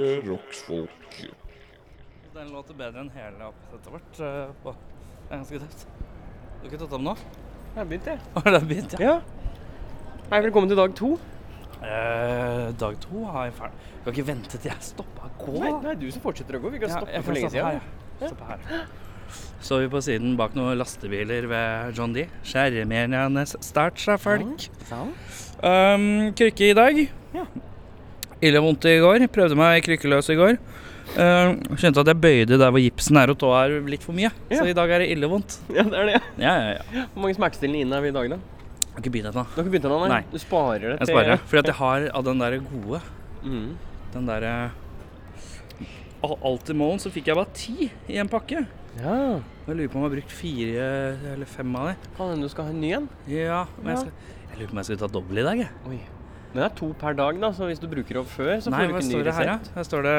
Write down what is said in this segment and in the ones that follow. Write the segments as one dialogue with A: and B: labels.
A: Rockfolk.
B: Den låter bedre enn hele oppsettet vårt. eh, på- Det er ganske tøft. Du har ikke tatt om nå?
C: Jeg har begynt, jeg.
B: Har det begynt, ja?
C: Ja. Hei, velkommen til dag to.
B: Eh, dag to har jeg ferdig. Du kan ikke vente til jeg stopper å gå.
C: Nei, det er du som fortsetter å gå. Vi kan
B: Ja,
C: stoppe
B: jeg
C: for
B: kan
C: lenge
B: stoppe
C: siden.
B: her, ja. Stoppe her. Så vi på siden bak noen lastebiler ved John D. Skjæremjernene start seg, folk.
C: Sant.
B: Um, krykke i dag.
C: Ja.
B: Ille vondt i går. Prøvde meg krykkeløs i går. Um, kjente at jeg bøyde der hvor gipsen er og tåa er litt for mye.
C: Ja.
B: Så i dag er det ille vondt.
C: Ja, det er det. ja.
B: Ja, ja, ja. Jeg
C: Hvor mange smertestillende inn er vi i dag, da?
B: har ikke begynt ennå.
C: Du har ikke begynt ennå?
B: Nei.
C: Du sparer det
B: Jeg sparer, fordi at jeg har av den der gode
C: Mm.
B: Den der eh, Al- Altimollen, så fikk jeg bare ti i en pakke.
C: Ja.
B: Jeg lurer på om jeg har brukt fire eller fem av dem.
C: Kan hende du skal ha en ny en.
B: Ja, men jeg,
C: Ja.
B: skal, jeg lurer på om jeg skal ta dobbel i dag. Jeg.
C: Oi. Den er to per dag, da, så hvis du bruker opp før, så
B: Nei,
C: får du
B: hva
C: ikke en ny
B: står det her, da?
C: resept.
B: Her står det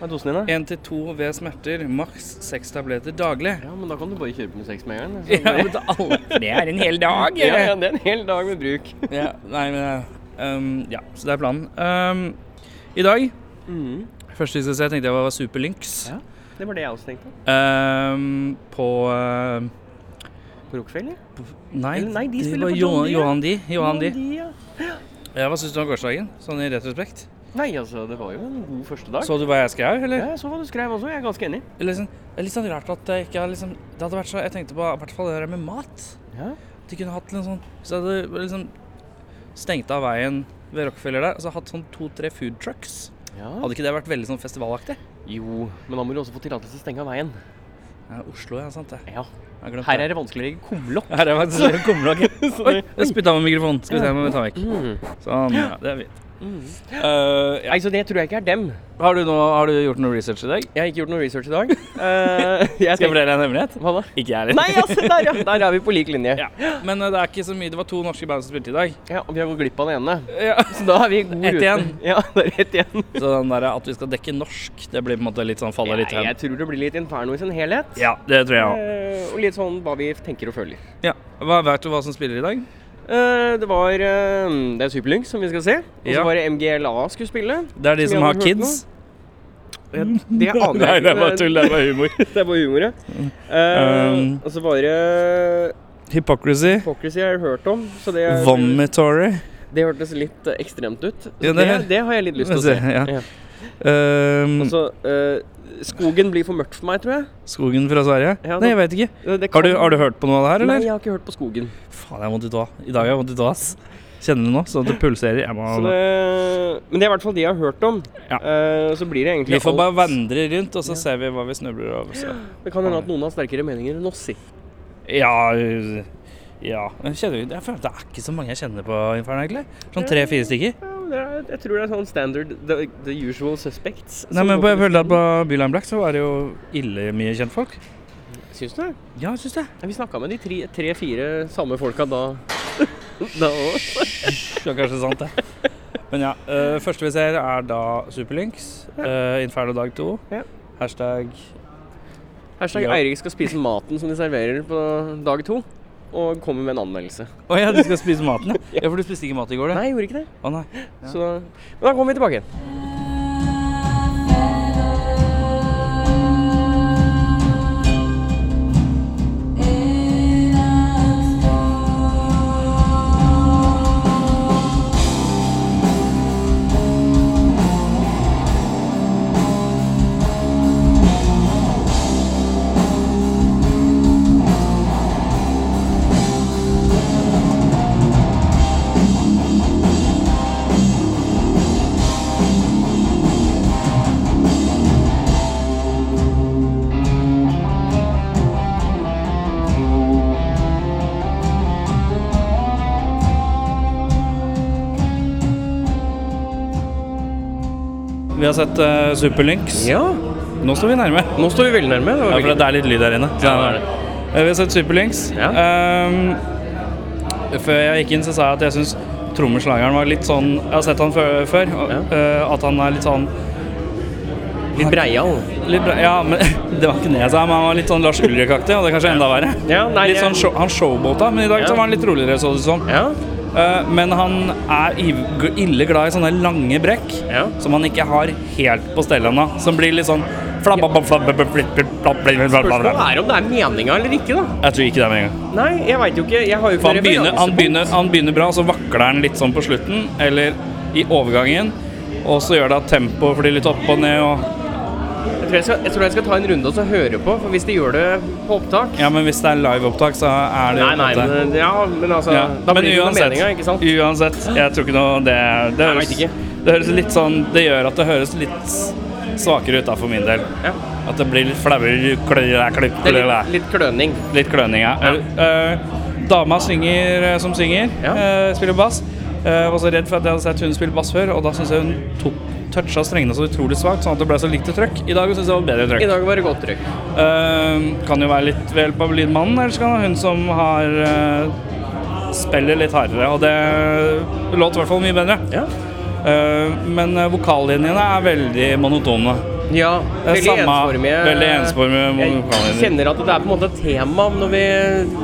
C: Hva er dosen din, da?
B: én til to ved smerter, maks seks tabletter daglig.
C: Ja, men da kan du bare kjøre på med seks med en gang. altså.
B: Ja,
C: så-
B: men det alle- det er en hel dag!
C: Ja,
B: eh.
C: ja, det er en hel dag med bruk.
B: Ja, nei, men eh, um, Ja, så det er planen. Um, I dag,
C: Mm.
B: første jeg skal se, tenkte jeg var Superlynx.
C: Ja. Det var det jeg også tenkte.
B: Um, på eh,
C: På Rockefeller?
B: Nei,
C: Eller nei, de
B: det
C: spiller
B: var
C: på John Dee, ja.
B: Johan Dee. Johan Dee.
C: Mandy, ja.
B: Ja, hva syns du om gårsdagen, sånn i retrospekt?
C: Nei, altså, det var jo en god første dag.
B: Så du hva jeg skrev,
C: Ja,
B: eller?
C: jeg så hva du skrev også, jeg er ganske enig.
B: Eller sånn- det er litt sånn rart at jeg ikke har liksom Det hadde vært så Jeg tenkte på i hvert fall det der med mat.
C: Ja.
B: At De kunne hatt en sånn Så hadde du liksom stengt av veien ved Rockefeller der, og så hatt sånn to-tre food trucks. Hadde ikke det vært veldig sånn festivalaktig?
C: Jo, men da må du også få tillatelse til å stenge av veien.
B: Ja, Oslo, ja, sant det.
C: Ja.
B: Jeg har glemt
C: Her
B: det.
C: er det vanskeligere kumlokk.
B: Her er faktisk det kommer nok.
C: Så
B: Oi,
C: det-
B: jeg spytta med mikrofonen. Skal vi se om vi tar vekk.
C: Mm.
B: Sånn, ja, det er fint.
C: Mm.
B: Eh, ja.
C: Nei, så det tror jeg ikke er dem.
B: har, du noe, har du gjort noe research i dag?
C: Jeg har ikke gjort noe research i dag. Eh, jeg
B: Skal jeg
C: tenker-
B: fortelle deg en hemmelighet?
C: Hva da?
B: Ikke jeg heller.
C: Nei, altså, der ja! Der er vi på lik linje.
B: Ja. Men eh, det er ikke så mye. Det var to norske band som spilte i dag.
C: Ja, og vi har gått glipp av det ene.
B: Ja.
C: Så da er vi i god
B: Ett
C: rute.
B: igjen.
C: Ja, det er ett igjen.
B: Så den der at vi skal dekke norsk, det blir på en måte litt sånn faller litt
C: Jeg,
B: hen.
C: jeg tror det blir litt inferno i sin helhet.
B: Ja, det tror jeg òg.
C: Eh, og litt sånn hva vi tenker og føler.
B: Ja. Hva Vet du hva som spiller i dag?
C: Eh, det var eh, Det er Superlynx som vi skal se. Og så
B: Ja.
C: var det MGLA skulle spille.
B: Det er de
C: Som
B: som
C: jeg
B: har
C: hadde hørt
B: kids.
C: Det aner
B: Nei,
C: jeg
B: det er bare tull. Det er bare humor.
C: Det er bare humor, ja. Eh,
B: Um.
C: og så var det
B: Hypocrisy.
C: Hypocrisy jeg har hørt om, så det, er-
B: Vomitory.
C: det hørtes litt eh, ekstremt ut. Så
B: Ja, det-
C: det, det har jeg litt lyst til å se.
B: Ja.
C: Ja.
B: Ehm,
C: Og så, eh, skogen blir for mørkt for meg, tror jeg.
B: skogen fra Sverige?
C: Ja,
B: Nei,
C: det-
B: jeg vet ikke.
C: Det, det
B: Har du,
C: kan-
B: har du hørt på noe av det her,
C: Nei,
B: eller?
C: jeg har ikke hørt på Skogen.
B: Faen, jeg har vondt i tåa. I dag har jeg vondt i tåa, ass. Kjenner du nå? Så det pulserer. Jeg
C: Så
B: må
C: det, men det er i hvert fall de jeg har hørt om.
B: Ja.
C: Eh, så blir det egentlig
B: Vi får
C: alt-
B: bare vandre rundt, og så ser vi hva vi snubler over. Så.
C: Det kan hende at noen har sterkere meninger enn oss. si.
B: Ja øh, Ja. Jeg kjenner, jeg føler at det er ikke så mange jeg kjenner på Inferno, egentlig. Sånn tre-fire stykker.
C: Ja, men det er, jeg tror det er sånn standard the, the usual suspects.
B: Nei,
C: som
B: men
C: går
B: jeg
C: på
B: føler at på Byline Black så var det jo ille mye kjentfolk.
C: listen. Syns du det?
B: Ja, syns jeg.
C: Ja, vi snakka med de tre- tre-fire samme folka da da òg.
B: Det er kanskje sant, det. Men ja. øh, første vi ser, er da Superlynx. øh, Inferno dag to.
C: Ja.
B: Hashtag
C: Hashtag
B: Ja.
C: Eirik skal spise maten som de serverer på dag to, og kommer med en anmeldelse.
B: Å ja, du skal spise maten, ja? Ja, for du spiste ikke mat i går, du?
C: Nei, jeg gjorde ikke det.
B: Å nei.
C: Så, men da kommer vi tilbake igjen.
B: Vi har sett øh, Superlynx.
C: Ja,
B: Nå står vi nærme.
C: nå står vi veldig nærme. Det
B: Ja,
C: var
B: for det er litt lyd der inne. Så
C: Ja,
B: det er det. Eh, Vi har sett Superlynx.
C: Ja.
B: Ehm, før jeg gikk inn, så sa jeg at jeg syns trommeslageren var litt sånn Jeg har sett han før, før og,
C: Ja.
B: eh, at han er litt sånn
C: Litt breial.
B: Litt bra, ja, men det var ikke det jeg sa, men han var litt sånn Lars Ulrik-aktig, og det er kanskje enda verre.
C: Ja, nei,
B: Litt sånn
C: jeg-
B: show, han showbåta, men i dag
C: Ja.
B: så var han litt roligere, så det ut som.
C: Ja.
B: Eh, Men han er iv- ille glad i sånne lange brekk
C: Ja.
B: som han ikke har helt på stell ennå. Som blir litt sånn
C: Spørsmålet
B: Jeg
C: er om det er meninga eller ikke, da.
B: tror ikke det er med en gang.
C: Nei, jeg veit jo ikke. Jeg har jo ikke
B: For han begynner, han,
C: referansepunkt.
B: begynner, han begynner bra, og så vakler han litt sånn på slutten, eller i overgangen. Og så gjør det at tempoet flyr litt opp og ned. Og,
C: Jeg tror jeg, skal, jeg tror jeg skal ta en runde og så høre på, for hvis de gjør det på opptak
B: ja, men hvis det er liveopptak, så er det jo
C: Nei, nei,
B: på en måte-
C: men, ja, men altså
B: ja.
C: Da
B: Men
C: blir det jo
B: uansett,
C: meninga, ikke sant?
B: uansett, jeg tror ikke noe det det
C: Jeg
B: høres,
C: vet ikke.
B: det høres litt sånn Det gjør at det høres litt s- svakere ut da, for min del.
C: Ja.
B: At det blir litt flauer klø- klipp,
C: Det er
B: klø-
C: litt, litt kløning.
B: Litt kløning, ja. Eh, dama synger eh, som synger,
C: Ja.
B: eh, spiller bass. Eh, var så redd for at jeg hadde sett hun spille bass før, og da syns jeg hun tok toucha strengene så utrolig svakt, sånn at det ble så lite trøkk. I dag syns jeg det var bedre trøkk.
C: I dag var det godt trykk.
B: Eh, kan jo være litt ved hjelp av lydmannen, eller så kan det være hun som har eh, spiller litt hardere, og det låt i hvert fall mye bedre.
C: Ja.
B: Eh, men eh, vokallinjene er veldig monotone.
C: ja
B: Det er
C: veldig
B: samme-
C: ensformige.
B: veldig ensformige
C: Jeg
B: vokallinjer.
C: kjenner at det er på en måte et tema når vi,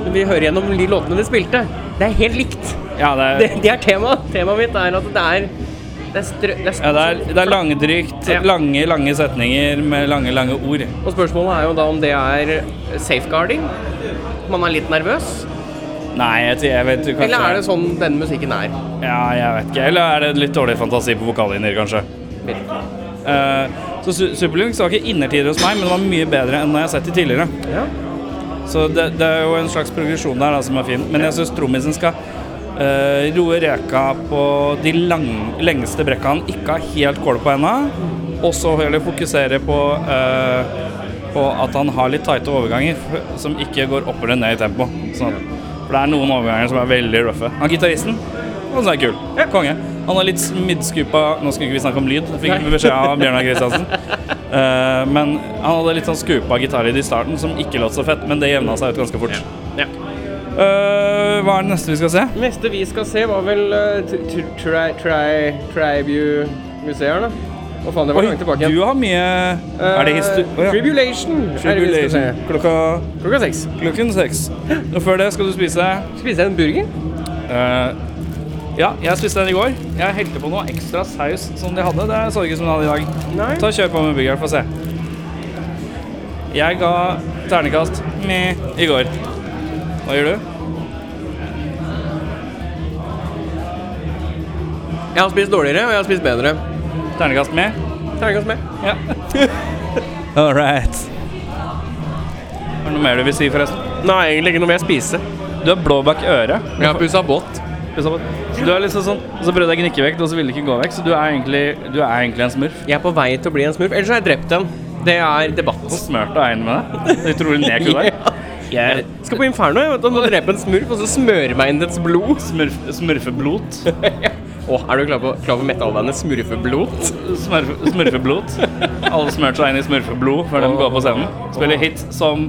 C: når vi hører gjennom de låtene de spilte. Det er helt likt.
B: Ja, det er,
C: Det, det er temaet. Temaet mitt er at det er Det er, strø, det er,
B: ja, det er, det er langdrygt.
C: Ja.
B: Lange, lange setninger med lange, lange ord.
C: Og spørsmålet er jo da om det er safeguarding. Man er litt nervøs.
B: Nei, jeg, t- jeg vet jo kanskje
C: Eller er det sånn den musikken er?
B: Ja, jeg vet ikke. Eller er det litt dårlig fantasi på vokallinjer, kanskje? Eh, så Su- Superlynx var ikke innertider hos meg, men det var mye bedre enn jeg har sett de tidligere.
C: Ja.
B: Så det, det er jo en slags progresjon der da, som er fin. Men jeg syns trommisen skal eh, roe reka på de lang, lengste brekka han ikke har helt kål på ennå. Og så heller fokusere på, eh, på at han har litt tighte overganger f- som ikke går opp eller ned i tempo. Sånn at, for det er noen overganger som er veldig røffe. Han gitaristen han som er kul. Konge. Han har litt middskupa Nå skulle ikke vi snakke om lyd, fikk vi beskjed av Bjørnar Kristiansen. Eh, men han hadde litt sånn skupa gitarlyd i starten som ikke låt så fett, men det jevna seg ut ganske fort.
C: ja.
B: Eh, hva er det neste vi skal se?
C: Neste vi skal se, var vel eh, t- t- tri, tri, Tribu-museet her, da. Hva faen, det var
B: Oi,
C: langt tilbake
B: du
C: igjen.
B: har mye Er det histo...
C: Eh,
B: Å ja.
C: Tribulation er det vi skal se.
B: Tribulation. Klokka
C: Klokka seks.
B: klokken seks. Og før det skal du spise
C: Spiste jeg en burger?
B: eh, Ja, jeg spiste den i går. Jeg helte på noe ekstra saus som de hadde. Det så ikke ut som de hadde i dag.
C: Nei.
B: Ta og Kjør på med burgeren, få se. Jeg ga ternekast med i går. Hva gjør du?
C: Jeg har spist dårligere, og jeg har spist bedre.
B: Ternekast med?
C: Terningkast med.
B: Ja. All right. Er det noe mer du vil si, forresten?
C: Nei, egentlig ikke. Nå vil jeg spise.
B: Du har blå bak øret.
C: Jeg har pussa båt.
B: Så Du er liksom sånn, og så prøvde jeg å gnikke vekk, og så ville det ikke gå vekk. Så du er egentlig, du er egentlig en smurf.
C: Jeg er på vei til å bli en smurf. Ellers har jeg drept en. Det er debatt.
B: Så smørte jeg inn med deg. Det utrolig nek du er. Jeg er
C: Skal på Inferno, jeg. vet du. Nå dreper jeg en smurf, og så smører meg inn dets blod.
B: smurf, smurfeblot.
C: Åh, er du klar på, klar på metallbandet Smurfeblot?
B: Smurf, smurfeblot. Alle smørte seg inn i smurfeblod før de går på scenen. Spiller hit som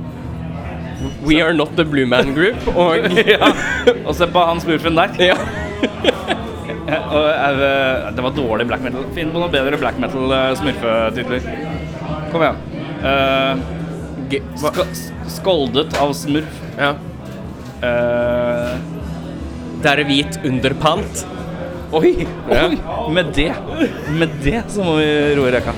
C: We are not the Blue Man Group, og
B: ja. Og se på han smurfen der.
C: ja.
B: Ja, og er, eh, det var dårlig black metal. Finn på noen bedre black metal-smurfetitler. Kom igjen. Eh,
C: Ge- hva-
B: ska, s- skoldet av smurf.
C: ja.
B: Eh,
C: Det er hvit underpant.
B: oi,
C: Ja.
B: oi! Med det Med det så må vi roe reka.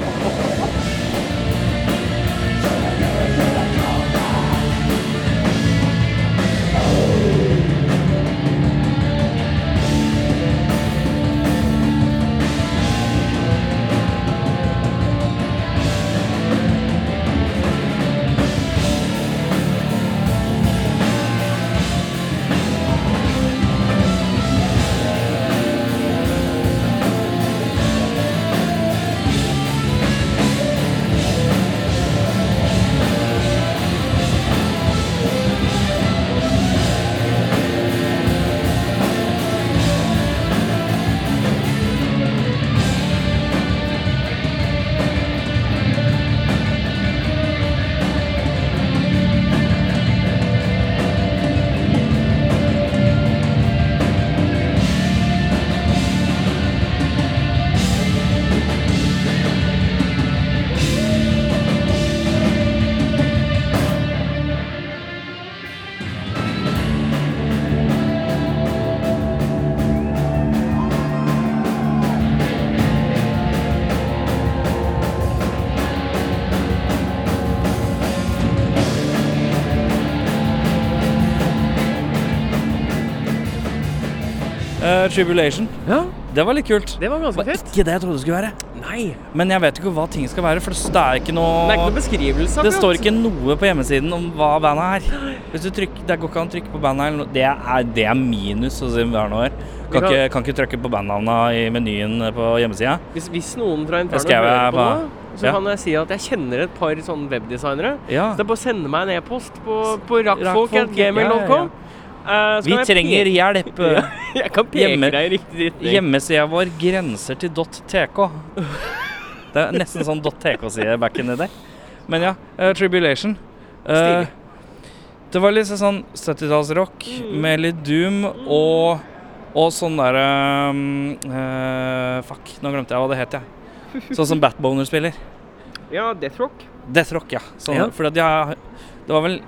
B: eh, Tribulation.
A: Ja,
B: Det var litt kult.
A: det var ganske
B: var
A: fett.
B: ikke det jeg trodde det skulle være.
A: Nei,
B: Men jeg vet ikke hva ting skal være, for det er ikke noe
A: det er ikke noen beskrivelse.
B: Det står ikke noe på hjemmesiden om hva bandet er. Hvis du trykker, Det går ikke an å trykke på bandet eller noe. Det er, det er minus altså, å si hva det er.
A: Vi
B: Kan
A: kan-
B: ikke, kan ikke trykke på bandnavna i menyen på hjemmesida.
A: Hvis, hvis noen fra
B: Jeg
A: Inferno
B: skrev
A: hører
B: jeg
A: på
B: på-
A: nå, så
B: ja.
A: kan jeg si at jeg kjenner et par sånne webdesignere.
B: Ja.
A: Så det er bare å sende meg en e-post på, på
B: Rakkfolk, ja, ja, ja.
A: rakkfolk.gmail.com. Eh, så
B: Vi
A: kan jeg
B: trenger
A: peke-
B: hjelp.
A: ja, Jeg kan peke
B: Hjemme-
A: deg i riktig retning.
B: Hjemmesida vår grenser til .tk. Det er nesten sånn .tk-side back in the day. Men ja, eh, Tribulation. Eh,
A: Stilig.
B: det var litt sånn 70-tallsrock
C: Mm.
B: med litt doom og, og sånn derre Fuck, nå glemte jeg hva det het, jeg. Sånn som Batboner spiller.
C: Ja, Deathrock.
B: Deathrock, ja. Sånn,
A: Ja.
B: Fordi at jeg, det var vel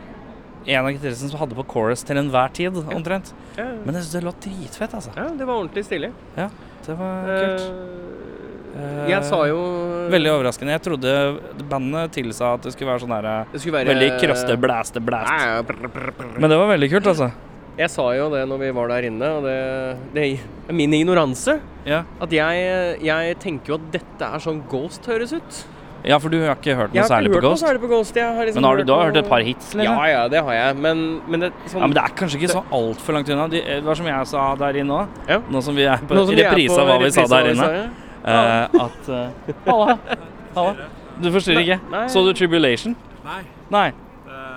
B: en av gitaristene som hadde på chorus til enhver tid, omtrent.
C: Ja,
B: Men jeg syns det låt dritfett, altså.
C: ja, det var ordentlig stilig.
B: Det var kult.
C: Eh, jeg sa jo
B: Veldig overraskende. Jeg trodde bandet tilsa at det skulle være sånn her eh,
C: Det skulle være
B: Veldig krøste, blæste, blæst.
C: Nei, brr, brr, brr.
B: Men det var veldig kult, altså.
C: Jeg sa jo det når vi var der inne, og det, det er min ignoranse.
B: Ja,
C: At jeg, jeg tenker jo at dette er sånn Ghost høres ut.
B: ja for du har ikke hørt noe
C: Jeg har
B: særlig
C: ikke
B: på
C: hørt noe
B: Ghost?
C: særlig på Ghost. Jeg har liksom
B: Men har du da
C: noe-
B: hørt et par hits,
C: Ja,
B: liksom?
C: ja, det har jeg. Men, men det, sånn,
B: Ja, men det er kanskje ikke så altfor langt unna. De- eh, Det var som jeg sa der inne òg,
C: Ja.
B: nå som vi er på
C: Nå som vi er
B: reprise
C: på
B: av hva vi sa
C: reprise av
B: der inne,
C: ja.
B: eh, at eh, Halla. Halla. Du forstyrrer ikke?
C: Nei.
B: Så du Tribulation?
D: Nei.
B: Nei.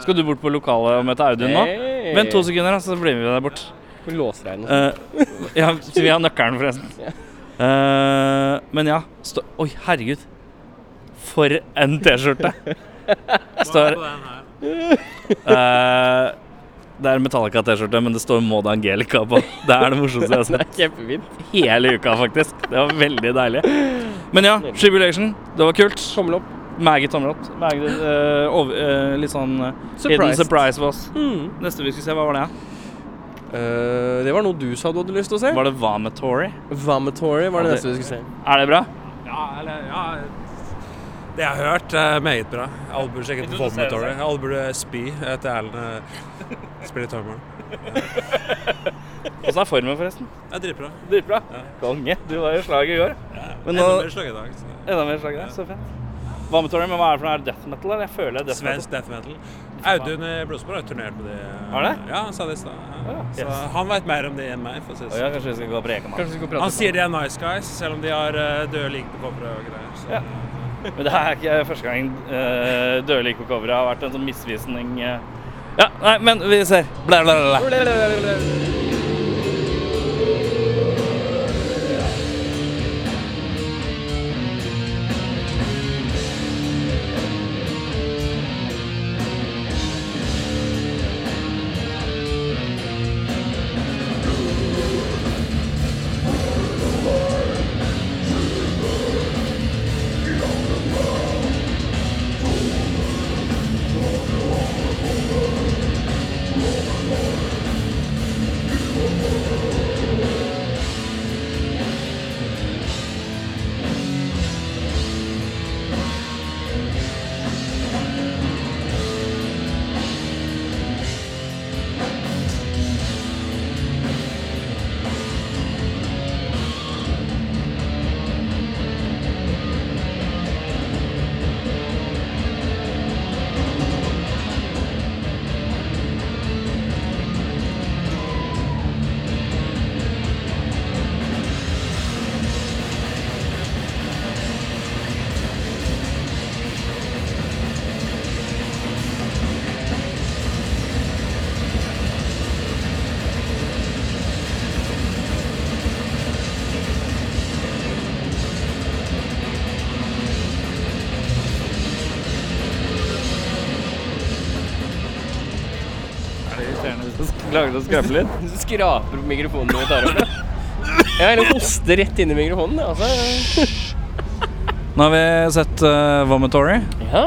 B: Skal du bort på lokalet og møte Audun nå?
C: Hey.
B: Vent to sekunder, da, så blir vi der bort.
C: Vi låser deg inne.
B: Eh, ja, så vi har nøkkelen, forresten. Eh, men ja stå, Oi, herregud. For en T-skjorte! Står
D: På den her.
B: eh, Det er en Metallica-T-skjorte, men det står Maud Angelica på. Det er det morsomste jeg har sett
C: Kjempefint.
B: hele uka, faktisk. Det var veldig deilig. Men ja, Tribulation. Det var kult.
C: Tommel opp.
B: Meget tommelott. Meget, eh, over- eh, litt sånn eh, hidden
C: Surprised.
B: surprise for oss.
C: Mm.
B: Neste vi skulle se, hva var det? ja?
C: Eh, det var noe du sa du hadde lyst til å se.
B: Var det Vomitory?
C: Vomitory var det
B: Ja, det-
C: neste vi skulle se.
B: Er det bra?
D: Ja, eller ja Det jeg har hørt, er meget bra. Alle burde sjekke ut Vomitory. Alle burde spy etter Erlend eh, spiller tommelen.
B: Åssen er formen, forresten?
D: Det er dritbra.
B: Dritbra. Konge. Du var jo slag i går. Men nå
D: Enda mer slag i dag. så-
B: Enda mer slag i dag. Så fett. Hva med Tori? Men hva er det for noe? Er det death metal, eller? Jeg føler det er death metal.
D: Svensk death metal. Audun i Blodspor har turnert med de.
B: Har det?
D: Ja, han sa det i stad. Ja.
B: ja.
D: Så han veit mer om de enn meg. for å si det
B: Å
D: sånn.
B: ja, kanskje vi skal gå og preke om det.
C: Kanskje vi skal prate
D: Han sier de er nice guys, selv om de har eh, døde lik på coveret og greier. Så.
B: Ja. Men det her er ikke første gang uh, døde lik på coveret har vært en sånn misvisning. eh. Ja, nei, men vi ser. Bla, bla, bla, bla. Er det irriterende hvis du klarer å skrape litt?
C: Du skraper på mikrofonen når vi tar opp det. Ja, eller hoster rett inn i mikrofonen. ja, Altså.
B: Nå har vi sett uh, Vomitory.
C: Ja.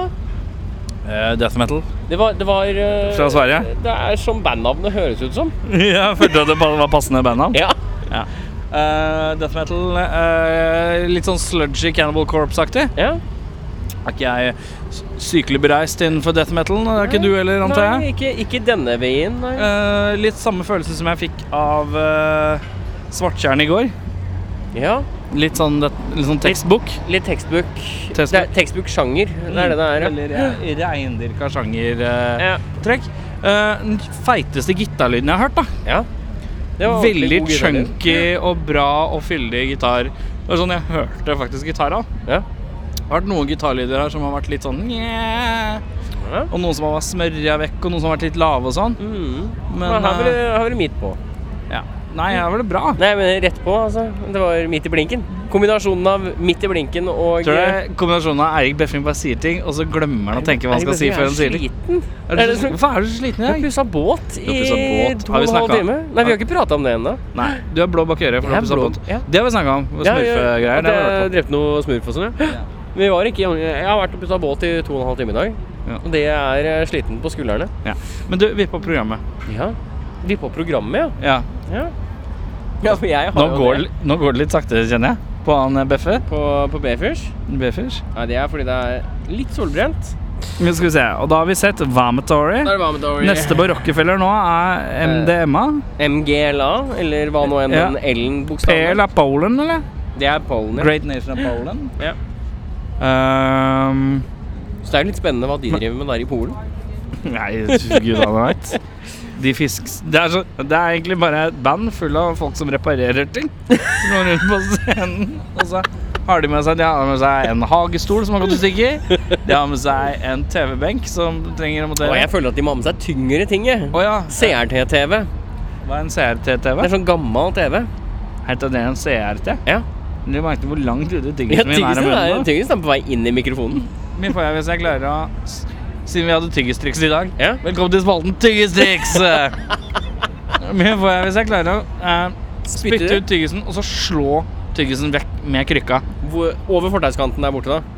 B: Eh, death metal.
C: Det var, det var eh,
B: Fra Sverige?
C: Det er som bandnavnet høres ut som.
B: ja, følte at det pa- var passende bandnavn.
C: Ja.
B: Ja. Eh, death metal, eh, litt sånn sludgy Cannibal Corpse-aktig.
C: ja.
B: Er ikke jeg s- sykelig bereist innenfor death metal? Det er ikke du heller, antar
C: Nei,
B: jeg?
C: ikke, ikke denne veien. Nei.
B: Eh, litt samme følelse som jeg fikk av eh, Svartjern i går.
C: Ja.
B: Litt sånn, det, litt sånn tekstbok.
C: Litt textbook.
B: Textbook.
C: Det er Textbook-sjanger. Det er det det er. ja.
B: Eller re- reindyrka sjangertrekk.
C: Ja.
B: Eh, den feiteste gitarlyden jeg har hørt. da
C: ja. Det var
B: Veldig
C: ordentlig god gitarlyd.
B: chunky og bra og fyldig gitar. Det var sånn jeg hørte faktisk gitar av.
C: Ja.
B: Det har vært noen gitarlyder her som har vært litt sånn "Nye",
C: Ja.
B: Og noen som har vært smørja vekk, og noen som har vært litt lave og sånn.
C: Mm.
B: Men,
C: Men her var det,
B: eh,
C: her var det midt på.
B: ja. Nei, her var det bra.
C: Nei, men rett på, altså. Det var midt i blinken. Kombinasjonen av midt i blinken og eh,
B: Tror jeg Eh, kombinasjonen av Eirik Befring bare sier ting, og så glemmer han å tenke hva han skal si før han sier det.
C: Sliten.
B: Er
C: Er
B: du
C: det
B: så-
C: som-
B: Hvorfor er du så sliten i
C: Jeg
B: dag?
C: pussa båt
B: har
C: i
B: pusset båt.
C: to
B: Har vi
C: og en halv
B: snakket?
C: time. Nei, vi har ikke prata om det ennå.
B: Nei, du er blå bak øret. For du
C: Jeg
B: har
C: er
B: pusset
C: blå,
B: båt.
C: ja.
B: Det har vi snakka om.
C: Ja, ja,
B: Smurfegreier.
C: At
B: Det har vi
C: jeg
B: hørt på.
C: drepte noe smurf og sånn, ja. Vi var ikke Jeg har vært og pussa båt i to og en halv time i dag.
B: Ja.
C: Og det er eh, sliten på skuldrene.
B: Ja. Men du, vi er på programmet.
C: Ja. Vi på programmet,
B: Ja.
C: ja. Ja, ja for jeg har
B: Nå
C: jo
B: går,
C: det.
B: nå går det litt sakte, kjenner jeg. På han eh, Beffe.
C: På, på Befers.
B: Beffers.
C: Nei, det er fordi det er litt solbrent.
B: Men skal vi se. Og da har vi sett Vomitory.
C: Da er det Eh, hva med Dory?
B: Neste på Rockefeller nå er MDMA.
C: MGLA, eller hva nå enn
B: Ja.
C: den L-en
B: PL
C: bokstaven er.
B: er Poland, eller?
C: Det er pollen, ja.
B: Great Nation of Poland.
C: ja.
B: Um,
C: Så det er litt spennende hva de driver med der i Polen.
B: nei, gud han veit. De fisk... Det er, så, det er egentlig bare et band full av folk som reparerer ting. Som går rundt på scenen, og så har de med seg, de har med seg en hagestol som har gått i stykker. De har med seg en TV-benk som trenger å
C: Og
B: montere.
C: jeg føler at de må ha med seg tyngre ting, jeg.
B: Å ja.
C: CRT-TV.
B: Hva er en CRT-TV?
C: Det er sånn gammel TV.
B: Heter det en CRT?
C: Ja.
B: Du merket hvor langt ute
C: Ja,
B: tyggisen min er av
C: tyngsten er,
B: munnen. nå.
C: tyngsten er på vei inn i mikrofonen.
B: Min får jeg hvis jeg klarer å s- Siden vi hadde tyggistriks i dag.
C: Ja.
B: Velkommen til spalten Tyggistriks! Min får jeg hvis jeg klarer å eh,
C: Spytter
B: spytte
C: du?
B: ut tyggisen og så slå tyggisen vekk med krykka.
C: Hvor, over fortauskanten der borte, da.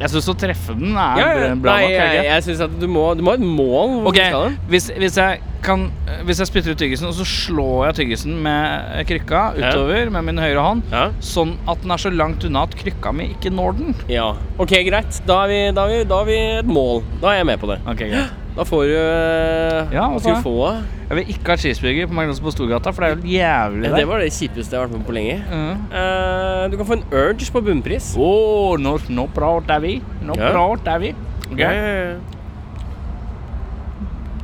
B: Jeg syns å treffe den er bra- bra
C: Nei,
B: nok. er det
C: jeg,
B: ikke?
C: jeg synes at du må, du må ha et mål. hvor
B: Ok,
C: du skal hen.
B: hvis, hvis, jeg kan, eh, hvis jeg spytter ut tyggisen, og så slår jeg tyggisen med eh, krykka
C: Ja.
B: utover med min høyre hånd,
C: Ja.
B: sånn at den er så langt unna at krykka mi ikke når den.
C: ja. Ok, greit. Da har, vi, da, har vi, da har vi et mål. Da er jeg med på det.
B: Ok, greit
C: Da får du eh,
B: Ja,
C: Hva
B: hva
C: skal
B: får
C: du få? da?
B: Jeg vil ikke ha cheeseburger på McDonald's på Storgata, for det er jo jævlig
C: Det
B: der.
C: var det kjipeste jeg har vært med på lenge.
B: Mhm.
C: Eh, du kan få en urge på bunnpris.
B: Åh, nå, nå prater vi. Nå
C: Ja.
B: prater vi. Ok.
C: Ja, ja, ja.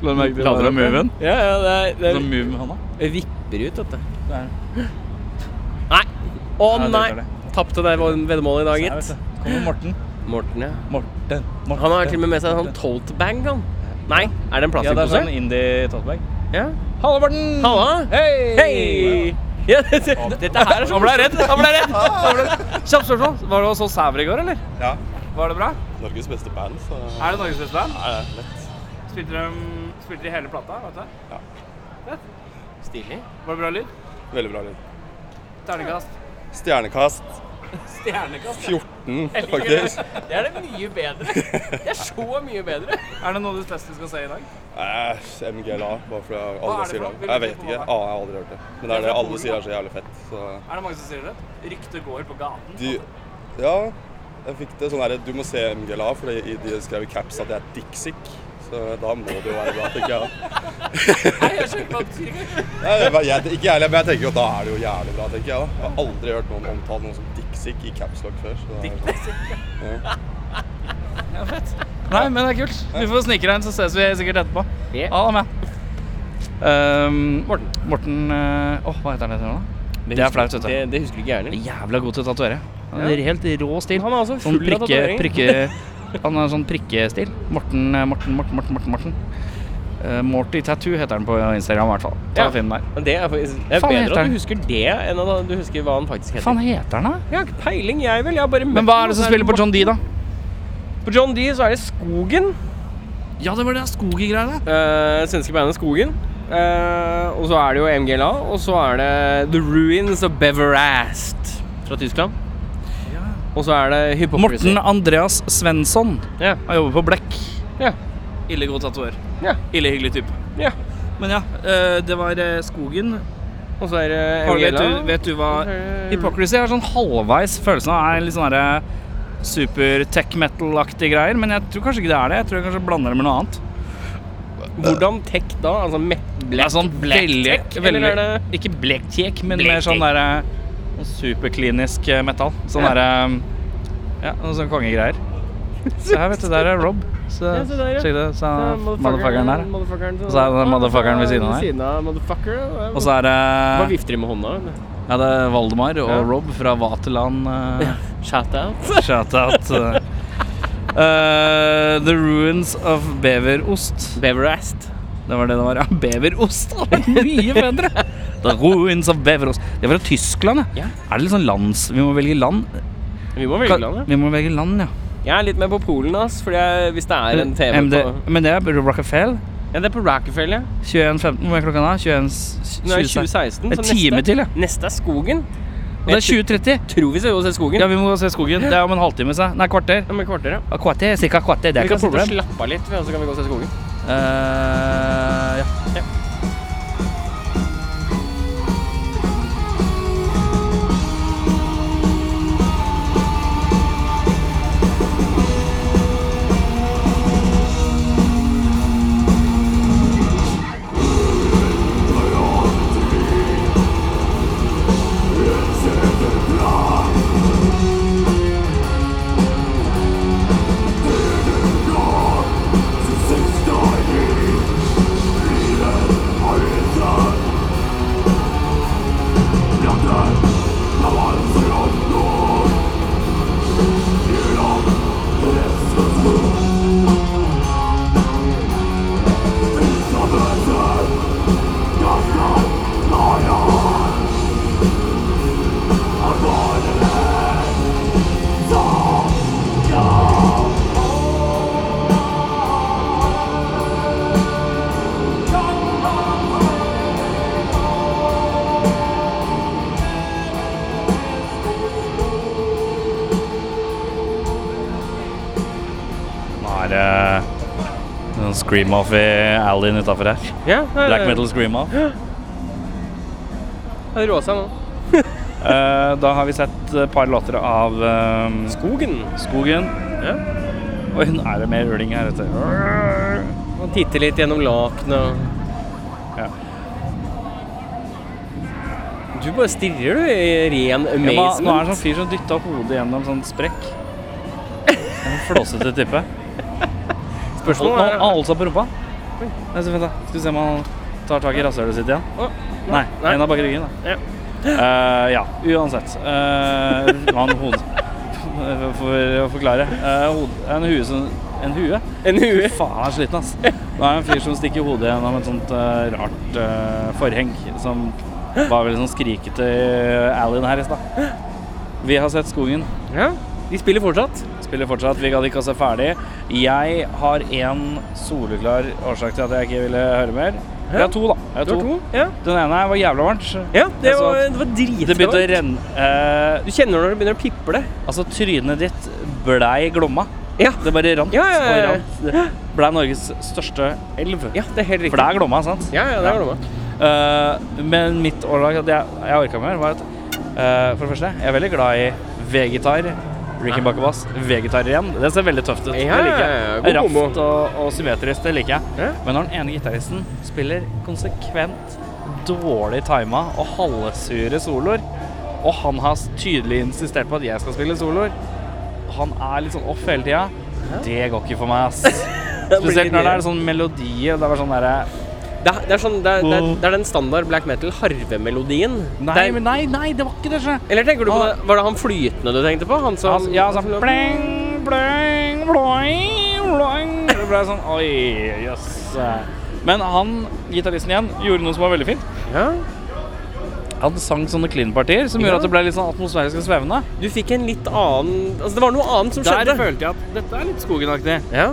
B: La meg Sånn
C: Lader opp, Ja, ja, det er, det er,
B: move med hånda.
C: det vipper ut, dette.
B: Der.
C: Nei! Å
B: Ja, det
C: nei!
B: gjør det.
C: Tapte det veddemålet i dag,
B: Der, vet
C: gitt.
B: du. Kommer Morten.
C: Morten, ja.
B: Morten. Morten.
C: Han har til og med med seg en sånn tote-bag, han. Nei, er det en
B: Ja, det er
C: plastikkpose?
B: sånn indie-totebag.
C: Ja.
B: Hallo, Morten!
C: Halla!
B: Hei!
C: Hei! Ja, dette, dette her er så
B: Han ble redd. Han ble redd. Han ble- Kjapt spørsmål. Var du og så Sæver i går, eller?
E: Ja.
B: Var det bra?
E: Norges beste band, så
B: Er det Norges beste band?
E: Nei, det er lett.
B: Spilte de, spilte de hele plata? Vet du?
C: Stilig.
B: Var det bra lyd?
E: Veldig bra lyd.
B: Terningkast.
E: Stjernekast
C: Stjernekast.
E: 14, faktisk.
C: Det er det mye bedre. Det er så mye bedre.
B: Er det noe du spesielt skal se i dag?
E: Æsj, MGLA, bare fordi
B: Hva
E: alle
B: er det
E: sier
B: for
E: det.
B: noe?
E: Jeg vet ikke. Ah, jeg har aldri hørt det. Men det er det alle sier er så jævlig fett. Så
B: Er det mange som sier det? Ryktet går på gaten.
E: de Ja, jeg fikk det sånn herre Du må se MGLA, for de de skrev i caps at jeg er dicksick. Så da må det jo være bra, tenker jeg.
C: Nei, jeg skjønner ikke hva det betyr.
E: Nei, det var- jeg ikke jeg heller, men jeg tenker jo da er det jo jævlig bra, tenker jeg da. Jeg har aldri hørt noen omtale noen som dicksick i caps lock før. Så det er sånn.
B: Nei, men det er kult. Du får snike deg inn, så ses vi sikkert etterpå.
C: Ja.
B: Ha det med. Ehm,
C: Morten.
B: Morten eh, Åh, hva heter han etter nå? Det er flaut, vet du.
C: Det, det husker ikke jeg
B: Han
C: heller.
B: er Jævla god til å tatovere. Han er helt rå stil.
C: Han er altså
B: Sånn
C: full av
B: prikke,
C: tatoveringer.
B: prikke Han har sånn prikkestil. Morten, eh, Morten, Morten, Morten. Morten, Morten. Eh, Morty Tattoo heter han på Instagram, i hvert fall. Ta
C: Ja.
B: og Finn den der.
C: Men Det er, faktisk- det er
B: Faen heter
C: bedre at
B: han.
C: du husker det, enn at du husker hva han faktisk
B: Hva faen
C: heter.
B: heter han, da?
C: Jeg har ikke peiling, jeg vel. Jeg har bare møtt
B: Men hva
C: han,
B: er det
C: og
B: som
C: så
B: spiller på John
C: Morten.
B: D, da?
C: På John D så er det Skogen.
B: Ja, det var det skogegreiene.
C: Uh, svenske bandet Skogen. Eh, og så er det jo MGLA, og så er det The Ruins of Beverast fra Tyskland. Og så er det Hypocrisy.
B: Morten Andreas Svensson.
C: Ja.
B: Han jobber på Blekk.
C: Ja.
B: Ille god tatover.
C: Ja.
B: Ille hyggelig type.
C: ja.
B: Men ja, eh, det var eh, skogen.
C: Og så er det
B: Har- Vet
C: MGLA.
B: du, vet du hva
C: Eh,
B: Hypocrisy er sånn halvveis følelsen av er litt sånn derre super tech metal-aktige greier, men jeg tror kanskje ikke det er det. Jeg tror jeg kanskje blander det med noe annet.
C: Hvordan tech da? Altså me-
B: Det er sånn
C: black tech, eller er det-
B: Ikke blektek, men
C: Black
B: mer sånn
C: tech.
B: derre sånn superklinisk eh, metall. Sånn
C: Ja.
B: derre Ja, noe sånn kongegreier. Se her, vet du. Der er Rob. Så,
C: Ja, se der, ja.
B: Sjekk det. Så er motherfuckeren der.
C: motherfuckeren,
B: Og så er det den motherfuckeren ved siden av her.
C: av motherfucker.
B: Og så er det
C: Bare vifter de med hånda. eller?
B: ja, det er Valdemar og
C: Ja.
B: Rob fra Vaterland. eh,
C: Shout out.
B: Shout-out. Eh, the Ruins of Beverost.
C: Beverest.
B: Det var det det var, ja. Beverost. det var Mye bedre! The Ruins of Beverost. Det var fra Tyskland, ja.
C: Ja.
B: Er det litt sånn lands... Vi må velge land.
C: Vi må velge
B: Kan-
C: land, ja.
B: Vi må velge land, ja.
C: Jeg er litt med på Polen, ass. Fordi jeg, hvis det er en TV
B: MD,
C: på
B: men det er Rockefeller.
C: Ja, det er på Rockefeller. ja.
B: 21.15, hvor er klokka da? 21,
C: Nå er det
B: 20,
C: 2016.
B: En
C: så
B: time
C: neste-
B: til, ja.
C: Neste er skogen.
B: Og det er 20.30.
C: Tror vi skal gå og se skogen.
B: Ja, vi må se skogen. Det er om en halvtime, sa jeg. Nei, kvarter.
C: Om et kvarter, ja.
B: Ja, Kvarter, cirka kvarter. Det er
C: Vi
B: ikke
C: kan
B: noe problem.
C: sitte og slappe av litt, og så kan vi gå og se skogen.
B: Eh, ja. Nå er eh, det en scream-off i alleyen utafor her.
C: Ja, eh, det
B: Black metal scream-off.
C: Det er råsa nå.
B: Eh, da har vi sett et par låter av eh,
C: Skogen.
B: Skogen.
C: Ja.
B: Oi, nå er det mer uling her, vet du.
C: Man titter litt gjennom lakenet.
B: Ja.
C: Du bare stirrer, du, i ren
B: Ja, nå nå er det
C: amazement.
B: sånn fyr som dytta hodet gjennom sånn sprekk. En sånn flåsete type. Spørsmålet
C: Spørsmålet er-
B: Han holdt seg på rumpa. Nei, så vent da. Skal vi se om han tar tak i rasshølet sitt igjen.
C: Å,
B: Nei,
C: nei.
B: en av bak ryggen. Da.
C: Ja.
B: Eh, ja, uansett. Eh, han hod... For å forklare. Eh, hod... En hue som En hue?
C: En hue.
B: Fy Faen, jeg er sliten, ass. Nå er det en fyr som stikker hodet gjennom et sånt eh, rart eh, forheng, som var veldig sånn skrikete i alleyen her i stad. Vi har sett Skogen.
C: Ja. De spiller fortsatt.
B: Spiller fortsatt. Vi gadd ikke å se ferdig. Jeg har én soleklar årsak til at jeg ikke ville høre mer. Jeg har to, da. Jeg har
C: Du har
B: to.
C: to. Ja,
B: Den ene var jævla varmt.
C: ja det,
B: Jeg så
C: var,
B: at
C: det var
B: Det begynte å
C: dritbra.
B: renne eh,
C: Du kjenner når det begynner å piple.
B: Altså, trynet ditt blei glomma.
C: Ja.
B: Det bare rant
C: Ja, ja, ja, ja.
B: og rant. Det blei Norges største elv.
C: Ja, det er helt riktig.
B: For det er Glomma, sant?
C: Ja, ja, det er glomma.
B: Eh, men mitt årlag at jeg, jeg orka mer, var at eh, For det første, jeg er veldig glad i vegetar. Ricky Bakebass. Vegetar igjen. Det ser veldig tøft ut.
C: Ah. Ja,
B: det liker jeg.
C: ja, ja, god kombo.
B: Raft og, og symmetrisk, det liker jeg.
C: Ja.
B: Men når den ene gitaristen spiller konsekvent dårlig tima og halvsure soloer, og han har tydelig insistert på at jeg skal spille soloer, han er litt sånn off hele tida, det går ikke for meg, ass. Spesielt når det er sånn melodi, og det er bare sånn derre
C: Det er, det er, sånn, det er, det er, det er den standard black metal harvemelodien.
B: Nei,
C: Det er-
B: men nei, nei, det var ikke det, sjø.
C: Eller tenker du på det, Var det han flytende du tenkte på? Han som
B: Altså, ja, sånn bling, bling, bling, bling. Det ble sånn Oi, jøss. Men han gitaristen igjen gjorde noe som var veldig fint.
C: Ja.
B: Han sang sånne clean-partier som gjorde
C: Ja.
B: at det ble litt sånn atmosfærisk og svevende.
C: Du fikk en litt annen Altså, det var noe annet som skjedde.
B: følte jeg at dette er litt skogenaktig. Eh,
C: Ja.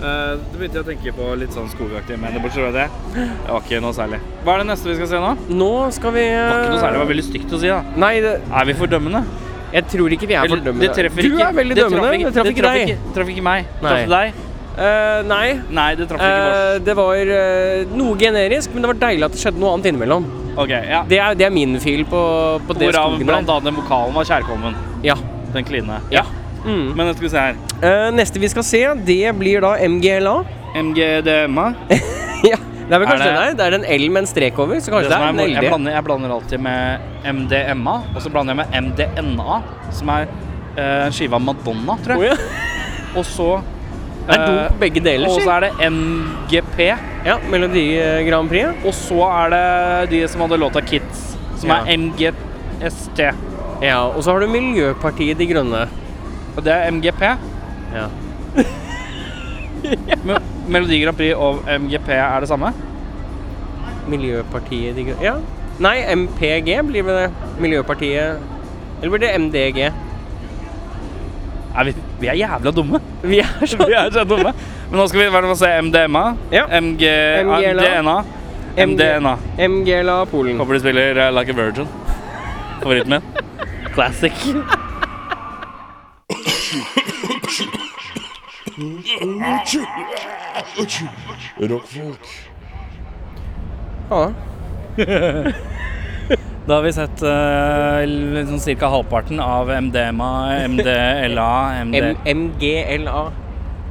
B: det begynte jeg å tenke på litt sånn skogaktig, men det bortsett fra det Det var ikke noe særlig. Hva er det neste vi skal se nå? Det
C: Nå skal vi Det
B: var ikke noe særlig, det var veldig stygt å si, da.
C: Nei, det,
B: Er vi for dømmende?
C: jeg tror ikke vi er
B: Eller,
C: for dømmende.
B: det treffer
C: du
B: ikke
C: er veldig dømmende. Det traff ikke deg.
B: Det traff ikke meg. Det
C: Nei.
B: traff deg.
C: Eh, nei.
B: Nei, det traff ikke vårt.
C: Eh, det var eh, noe generisk, men det var deilig at det skjedde noe annet innimellom.
B: Ok, ja.
C: Det er, det er min fil på, på det
B: Hvorav
C: skogen
B: blant
C: der.
B: annet den vokalen var kjærkommen.
C: Ja.
B: Den kline.
C: Ja. Mm.
B: Men nå skal vi se her.
C: Eh, neste vi skal se, det blir da MGLA.
B: MGDMA.
C: ja, det er vel kanskje
B: Er det-
C: den her. Det er en L med en strek over, så
B: Det
C: kanskje det
B: som
C: er
B: er,
C: en
B: mor- jeg,
C: LD.
B: blander, jeg blander alltid med MDMA, og så blander jeg med MDNA, som er eh, en skive av Madonna, tror
C: Å
B: jeg.
C: Oh, ja.
B: Og så eh,
C: Det er dop på begge deler,
B: Og
C: si.
B: så er det NGP,
C: Ja, Melodi eh, Grand Prix. ja.
B: og så er det de som hadde låta Kids, som
C: Ja.
B: er MGST.
C: Ja, og så har du Miljøpartiet De Grønne.
B: Og det er MGP.
C: Ja.
B: Me- Melodi Grand Prix og MGP er det samme.
C: Miljøpartiet De Grønne Ja. Nei, MPG blir vel det. Miljøpartiet Eller blir det MDG?
B: Nei, vi, vi er jævla dumme.
C: Vi er sånn
B: Vi er så dumme. Men nå skal vi i hvert fall se MDMA,
C: Ja.
B: MG,
C: MGLA.
B: MDNA, MDNA.
C: MGLA Polen.
B: Håper de spiller eh, Like a Virgin. Favoritten min. Classic.
C: Ja.
B: Da har vi sett eh, liksom ca. halvparten av MDMA, MDLA, MD...
C: M MGLA.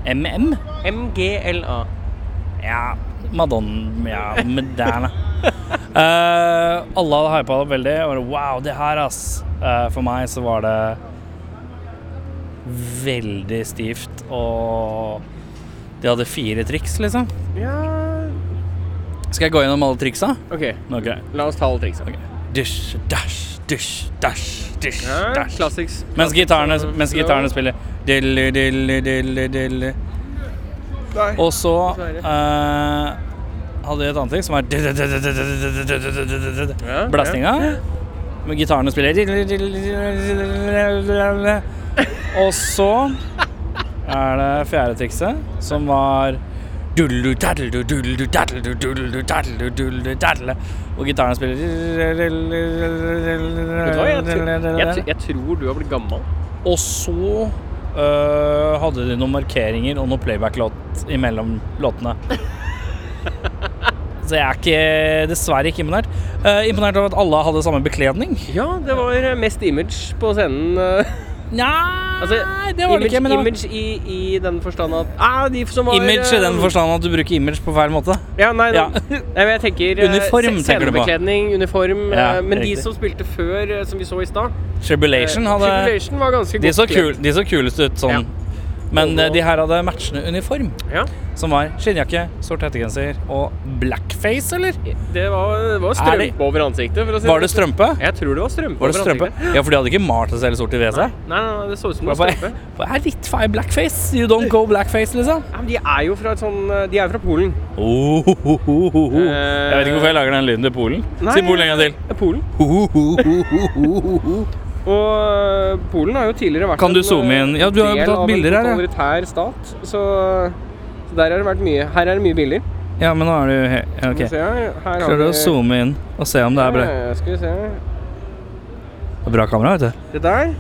B: MM?
C: MGLA.
B: Ja, Madonna Ja, Madonna. Eh, alle hadde hypa det veldig. Og det, wow, det her, ass. Eh, for meg så var det veldig stivt, og de hadde fire triks, liksom.
C: Ja
B: Skal jeg gå gjennom alle triksa?
C: OK,
B: Nå, ok.
C: la oss ta alle triksa.
B: Dysj, dash, dysj, dash, dysj,
C: Ja,
B: dash.
C: Classics.
B: Mens gitarene, mens gitarene spiller dille, dille, dille, dille. Og så
C: dessverre.
B: eh, hadde vi et annet ting som var dille, dille, dille, dille, dille, dille, dille,
C: Ja, ja.
B: Blastinga. Men gitarene spiller dille, dille, dille, dille, dille. Og så er det fjerde trikset, som var dullu, dadlu, dullu, dadlu, dullu, dadlu, dullu, dadlu. Og gitarene spiller
C: Vet du hva, jeg, tr jeg, tr jeg tror du har blitt gammel.
B: og så øh, hadde de noen markeringer og noen playback-låt imellom låtene. Så jeg er ikke, dessverre ikke imponert. Eh, imponert over at alle hadde samme bekledning.
C: Ja, det var eh, mest image på scenen. eh.
B: Nja
C: Altså,
B: det var det
C: image,
B: ikke. Men det var
C: image i, i den forstand at ah, de som var,
B: image i den
C: eh,
B: forstand at du bruker image på feil måte.
C: Ja, nei,
B: Ja.
C: nei, men jeg tenker eh,
B: Uniform,
C: se-
B: tenker du på.
C: Scenebekledning, uniform.
B: Ja,
C: eh, men
B: riktig.
C: de som spilte før, eh, som vi så i stad
B: Eh, Tribulation hadde
C: Tribulation var ganske
B: de
C: godt
B: så,
C: kledd.
B: kul, de så kulest ut sånn. Men eh, de her hadde matchende uniform,
C: Ja,
B: som var skinnjakke, sort hettegenser og blackface, eller?
C: det var, det var
B: Er
C: strømpe
B: det-
C: over ansiktet. For å si sånn.
B: Var det strømpe?
C: Jeg tror det var strømpe
B: Var det
C: over
B: strømpe?
C: ansiktet.
B: Ja, for de hadde ikke malt det selv sort i WC?
C: Nei, nei, nei, det så ut som det
B: Hva
C: var
B: er
C: strømpe.
B: hva er litt feil blackface? You don't go blackface, liksom.
C: Ja, men de er jo fra et sånn eh, De er fra Polen.
B: Oh, ho, ho, ho, ho, ho. Jeg vet ikke hvorfor jeg lager den lyden til Polen.
C: Nei.
B: Si Polen en gang til.
C: Det er Polen.
B: Ho, ho, ho, ho, ho, ho, ho.
C: Og eh, Polen har jo tidligere vært
B: Kan du
C: en,
B: zoome
C: eh,
B: inn? Ja, du har jo
C: del
B: tatt
C: av en
B: bilder her, ja.
C: totalitær stat, så, så der har det vært mye. Her er det mye bilder.
B: Ja, men nå er du he- ja,
C: Skal vi
B: OK.
C: se her. her har
B: Klarer du
C: vi-
B: å zoome inn og se om det er bra,
C: Ja, Skal vi se
B: det er bra kamera, vet du?
C: Det der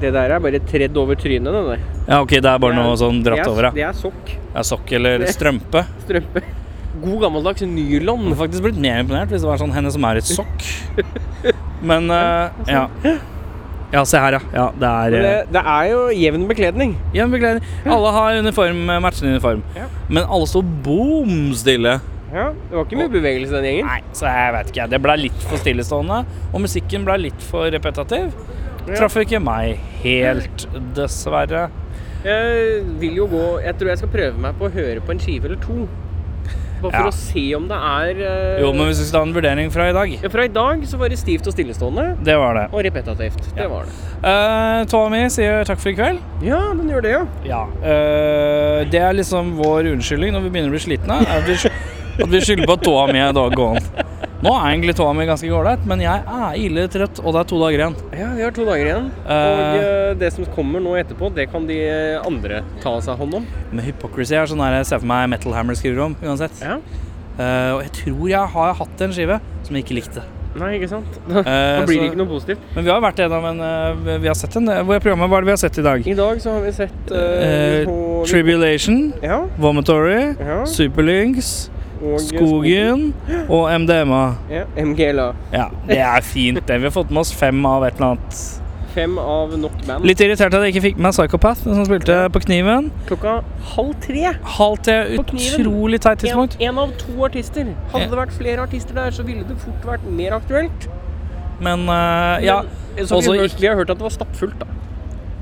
C: Det der er bare tredd over trynet, det der.
B: Ja, OK, det er bare noe sånn
C: Det
B: dratt
C: er-
B: over, ja.
C: Det er sokk.
B: Det er sokk eller strømpe.
C: Strømpe. God gammeldags
B: Jeg
C: nylon.
B: hadde faktisk blitt mer imponert hvis det var sånn henne som er et sokk. Men eh, ja. Ja, se her, ja. ja det er
C: Men
B: eh,
C: Det, det er jo jevn bekledning.
B: Ja, beklager. Alle har uniform, eh, matchende uniform.
C: Ja.
B: Men alle står boom stille.
C: Ja, Det var ikke mye bevegelse i den gjengen.
B: Nei, så jeg vet ikke. jeg. Det ble litt for stillestående. Og musikken ble litt for repetativ. Traff ikke meg helt, dessverre.
C: Jeg vil jo gå Jeg tror jeg skal prøve meg på å høre på en skive eller to. Bare for
B: Ja.
C: å se om det er eh,
B: Jo, men hvis vi skal ta en vurdering fra i dag
C: ja, Fra i dag så var det stivt og stillestående.
B: Det var det.
C: Og repetativt.
B: Ja.
C: Det var det.
B: Uh, Tåa mi sier takk for i kveld.
C: Ja, den gjør det, ja.
B: Ja. eh, det er liksom vår unnskyldning når vi begynner å bli slitne. er At vi, sky- at vi skylder på at tåa mi er daggående. Nå er egentlig tåa mi ganske ålreit, men jeg er ille trøtt, og det er to dager igjen.
C: Ja, Vi har to dager igjen. og eh, det som kommer nå etterpå, det kan de andre ta seg hånd om.
B: Men hypocrisy er sånn der jeg ser for meg Metal Hammer skriver om, uansett.
C: Ja.
B: Eh, og jeg tror jeg har hatt en skive som jeg ikke likte.
C: Nei, ikke sant? Da,
B: Eh,
C: da blir det
B: så-
C: ikke noe positivt.
B: Men vi har vært gjennom en eh, Vi har sett en Hvor er programmet? Hva er det vi har sett i dag?
C: I dag så har vi sett eh,
B: Eh,
C: på-
B: Tribulation,
C: ja,
B: Vomitory,
C: ja,
B: Superlynx,
C: og
B: Skogen og MDMA.
C: Ja, MGLA.
B: Ja, det er fint, det. Vi har fått med oss fem av et eller annet.
C: fem av nok band.
B: Litt irritert at jeg ikke fikk med meg Psychopath, den som spilte på Kniven.
C: Klokka halv tre.
B: Halv til
C: På Kniven.
B: utrolig teit
C: En,
B: tidspunkt.
C: en av to artister. Hadde det vært flere artister der, så ville det fort vært mer aktuelt.
B: Men eh, ja.
C: Men, så
B: Også
C: vi, har
B: ikke-
C: hørt, vi har hørt at det var stappfullt, da.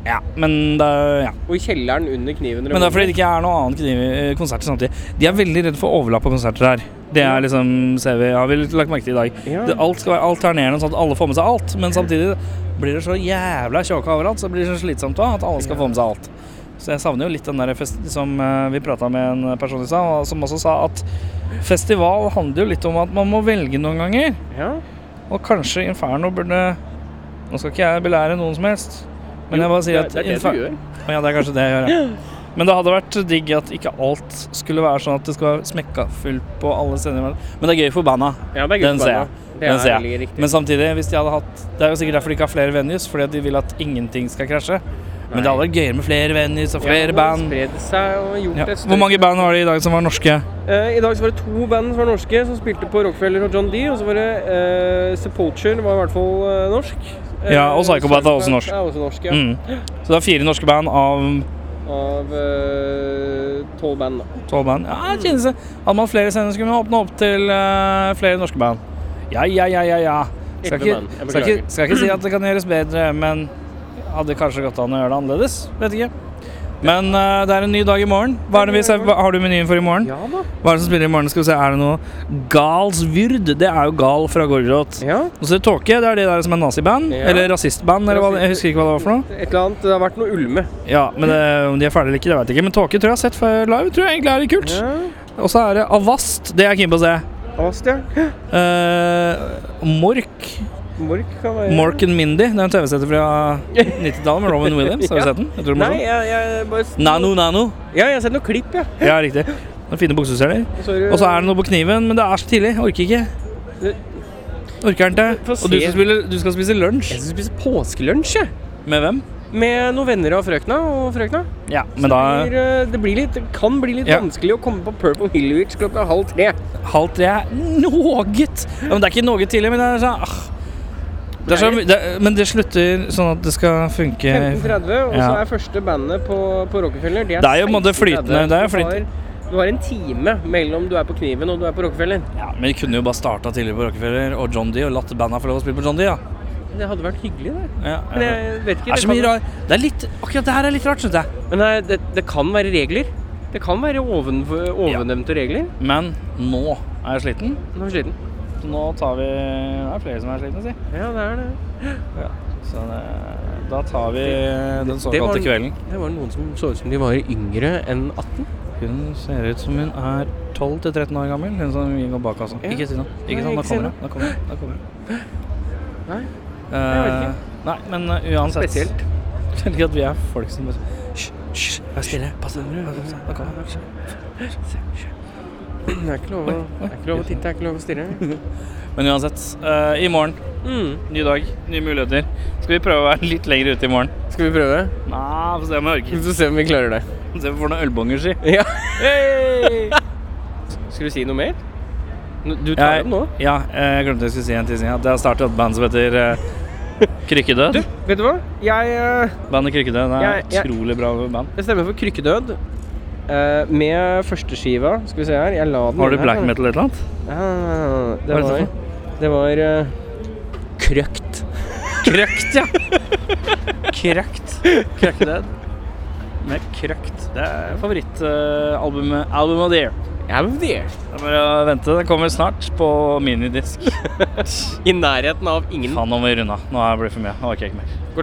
B: ja. Men det ja.
C: Og i kjelleren under kniven.
B: Men det er fordi det ikke er noe annet kniv, eh, konserter samtidig. De er veldig redde for overlapp på konserter her. Det er liksom, ser vi, har vi lagt merke til i dag.
C: Ja.
B: Det, alt skal være alternerende, sånn at alle får med seg alt. Men samtidig blir det så jævla tjåka overalt, så blir det så slitsomt også, at alle skal få med seg alt. Så jeg savner jo litt den der fest som eh, vi prata med en person i stad, og som også sa at festival handler jo litt om at man må velge noen ganger.
C: Ja.
B: Og kanskje Inferno burde Nå skal ikke jeg belære noen som helst, men jeg bare sier at
C: det, er det
B: Infer-
C: du gjør.
B: å Ja, det er kanskje det jeg gjør, ja. Men det hadde vært digg at ikke alt skulle være sånn at det skal være smekka fullt på alle steder. i verden. Men det er gøy for banda.
C: Ja, det er
B: Den ser jeg.
C: guttebanda. Det
B: Den
C: er
B: ser jeg.
C: veldig riktig.
B: Men samtidig, hvis de hadde hatt Det er jo sikkert derfor de ikke har flere venues, fordi at de vil at ingenting skal krasje. Men det hadde vært gøyere med flere venues og flere
C: Ja,
B: band.
C: Spredde seg og gjort
B: Ja.
C: det
B: Hvor mange band var det i dag som var norske?
C: Eh, I dag så var det to band som var norske, som spilte på Rockefeller og John D. Og så var det eh, Sepulture, var i hvert fall eh, norsk. Eh,
B: Ja, og Psychopath er også norsk.
C: Er også norsk ja.
B: Mm. Så det var fire norske band av
C: Av eh, tolv band, da.
B: tolv band. Ja, det kjennes det. Hadde man flere scener, skulle man åpne opp til eh, flere norske band. Ja, ja, ja, ja, ja. Skal
C: Elleve
B: ikke,
C: band. Jeg
B: skal, ikke, skal ikke si at det kan gjøres bedre, men hadde kanskje gått an å gjøre det annerledes. Vet ikke. Men eh, det er en ny dag i morgen. Hva er det vi ser? hva- Har du menyen for i morgen?
C: Ja da.
B: Hva er det som spiller i morgen? Skal vi se, er det noe Galsvyrd? Det er jo Gal fra Gorgoroth.
C: Ja,
B: Og så er det Tåke. Det er de der som er naziband.
C: Ja.
B: Eller rasistband, eller hva det- Jeg husker ikke hva det var for noe.
C: Et eller annet. Det har vært noe ulme.
B: Ja, men det, Om de er ferdige eller ikke, det vet jeg ikke. Men Tåke tror jeg jeg har sett før live. Tror jeg egentlig er litt kult.
C: Ja.
B: Og så er det Avast, det er jeg keen på å se.
C: Astia.
B: Eh, Mork.
C: Mork kan være
B: Mork and Mindy. Det er en TV-setter fra 90-tallet med Robin Williams. Har du sett den? Jeg tror det er
C: Nei,
B: morsom.
C: jeg, jeg bare
B: Nano Nano.
C: Ja, jeg har sett noen klipp, ja.
B: Ja, riktig. Noen fine bukseseler.
C: Og så er det-
B: Og så er det noe på kniven, men det er så tidlig. Jeg Orker ikke. Orker den til.
C: Få se.
B: Og du skal, spille, du skal spise lunsj.
C: Jeg skal spise påskelunsj, jeg.
B: Med hvem?
C: Med noen venner av frøkna og frøkna.
B: Ja, men da
C: Det blir, eh, det, blir litt, det kan bli litt
B: Ja.
C: vanskelig å komme på Purple Hillwich klokka halv tre.
B: halv tre er noe. Ja, men det er ikke noe tidlig, men det er sånn ah. det er så, det, Men det slutter sånn at det skal funke
C: 15.30, og så
B: Ja.
C: er første bandet på, på Rockefeller.
B: Det er jo på en måte
C: 16.30.
B: flytende, det er jo
C: Du har- Du har en time mellom du er på Kniven og du er på Rockefeller.
B: Ja, men vi kunne jo bare starta tidligere på Rockefeller og John D og latt banda få lov å spille på John D, da.
C: Det hadde vært hyggelig, det.
B: Ja,
C: Men jeg vet ikke.
B: Det er så
C: kan-
B: mye rar Det er litt Akkurat det her er litt rart, syns jeg.
C: Men det, det, det kan være regler. Det kan være oven, ovennevnte regler.
B: Men nå er jeg sliten.
C: Nå er jeg sliten.
B: Så nå tar vi Det er flere som er slitne, si.
C: Ja, det er det.
B: Så det, da tar vi den
C: det var-
B: såkalte kvelden.
C: Det var noen som så ut som de var yngre enn 18.
B: Hun ser ut som hun er 12-13 år gammel, hun som går bak oss.
C: Ja.
B: Ikke si noe.
C: Nei,
B: Ikke sånn,
C: ikke
B: da
C: si
B: kommer hun. Da kommer hun. Da kommer hun.
C: Nei,
B: Eh,
C: jeg vet
B: nei, men eh, uansett
C: Spesielt.
B: Jeg liker at vi er folk som bare Hysj, hysj, vær stille. Pass deg. Da kommer hun.
C: Det er ikke lov å, det er ikke lov å titte, det er ikke lov å stirre.
B: Men uansett, eh, i morgen,
C: Mm.
B: ny dag, nye muligheter. Skal vi prøve å være litt lenger ute i morgen?
C: Skal vi prøve?
B: Nei, får se om jeg
C: Vi
B: orker.
C: får se om vi klarer det.
B: Få Se om vi får noen ølbonger, si.
C: Ja. Skal du si noe mer? N- Du tar
B: Jeg-
C: dem nå.
B: Ja, eh, jeg glemte jeg skulle si en ting. ja. Det har startet et band som heter eh, Krykkedød.
C: Vet du hva? Jeg, eh,
B: Bandet Krykkedød er
C: Jeg- jeg-
B: utrolig bra band.
C: jeg stemmer for Krykkedød. eh, med førsteskiva Skal vi se her. Jeg la den
B: Har du
C: inn her.
B: black metal eller noe?
C: Ja,
B: Hva er
C: det
B: det
C: var
B: for
C: Det var eh, Krøkt.
B: Krøkt, ja! Krøkt. Krøkkedød. Med Krøkt. Det er favorittalbumet Album of the Year.
C: Jeg var der.
B: Det er bare å vente. Det kommer snart på minidisk.
C: I nærheten av ingen
B: Faen, nå må vi runde av. Nå er det blitt for mye. Nå orker jeg ikke mer.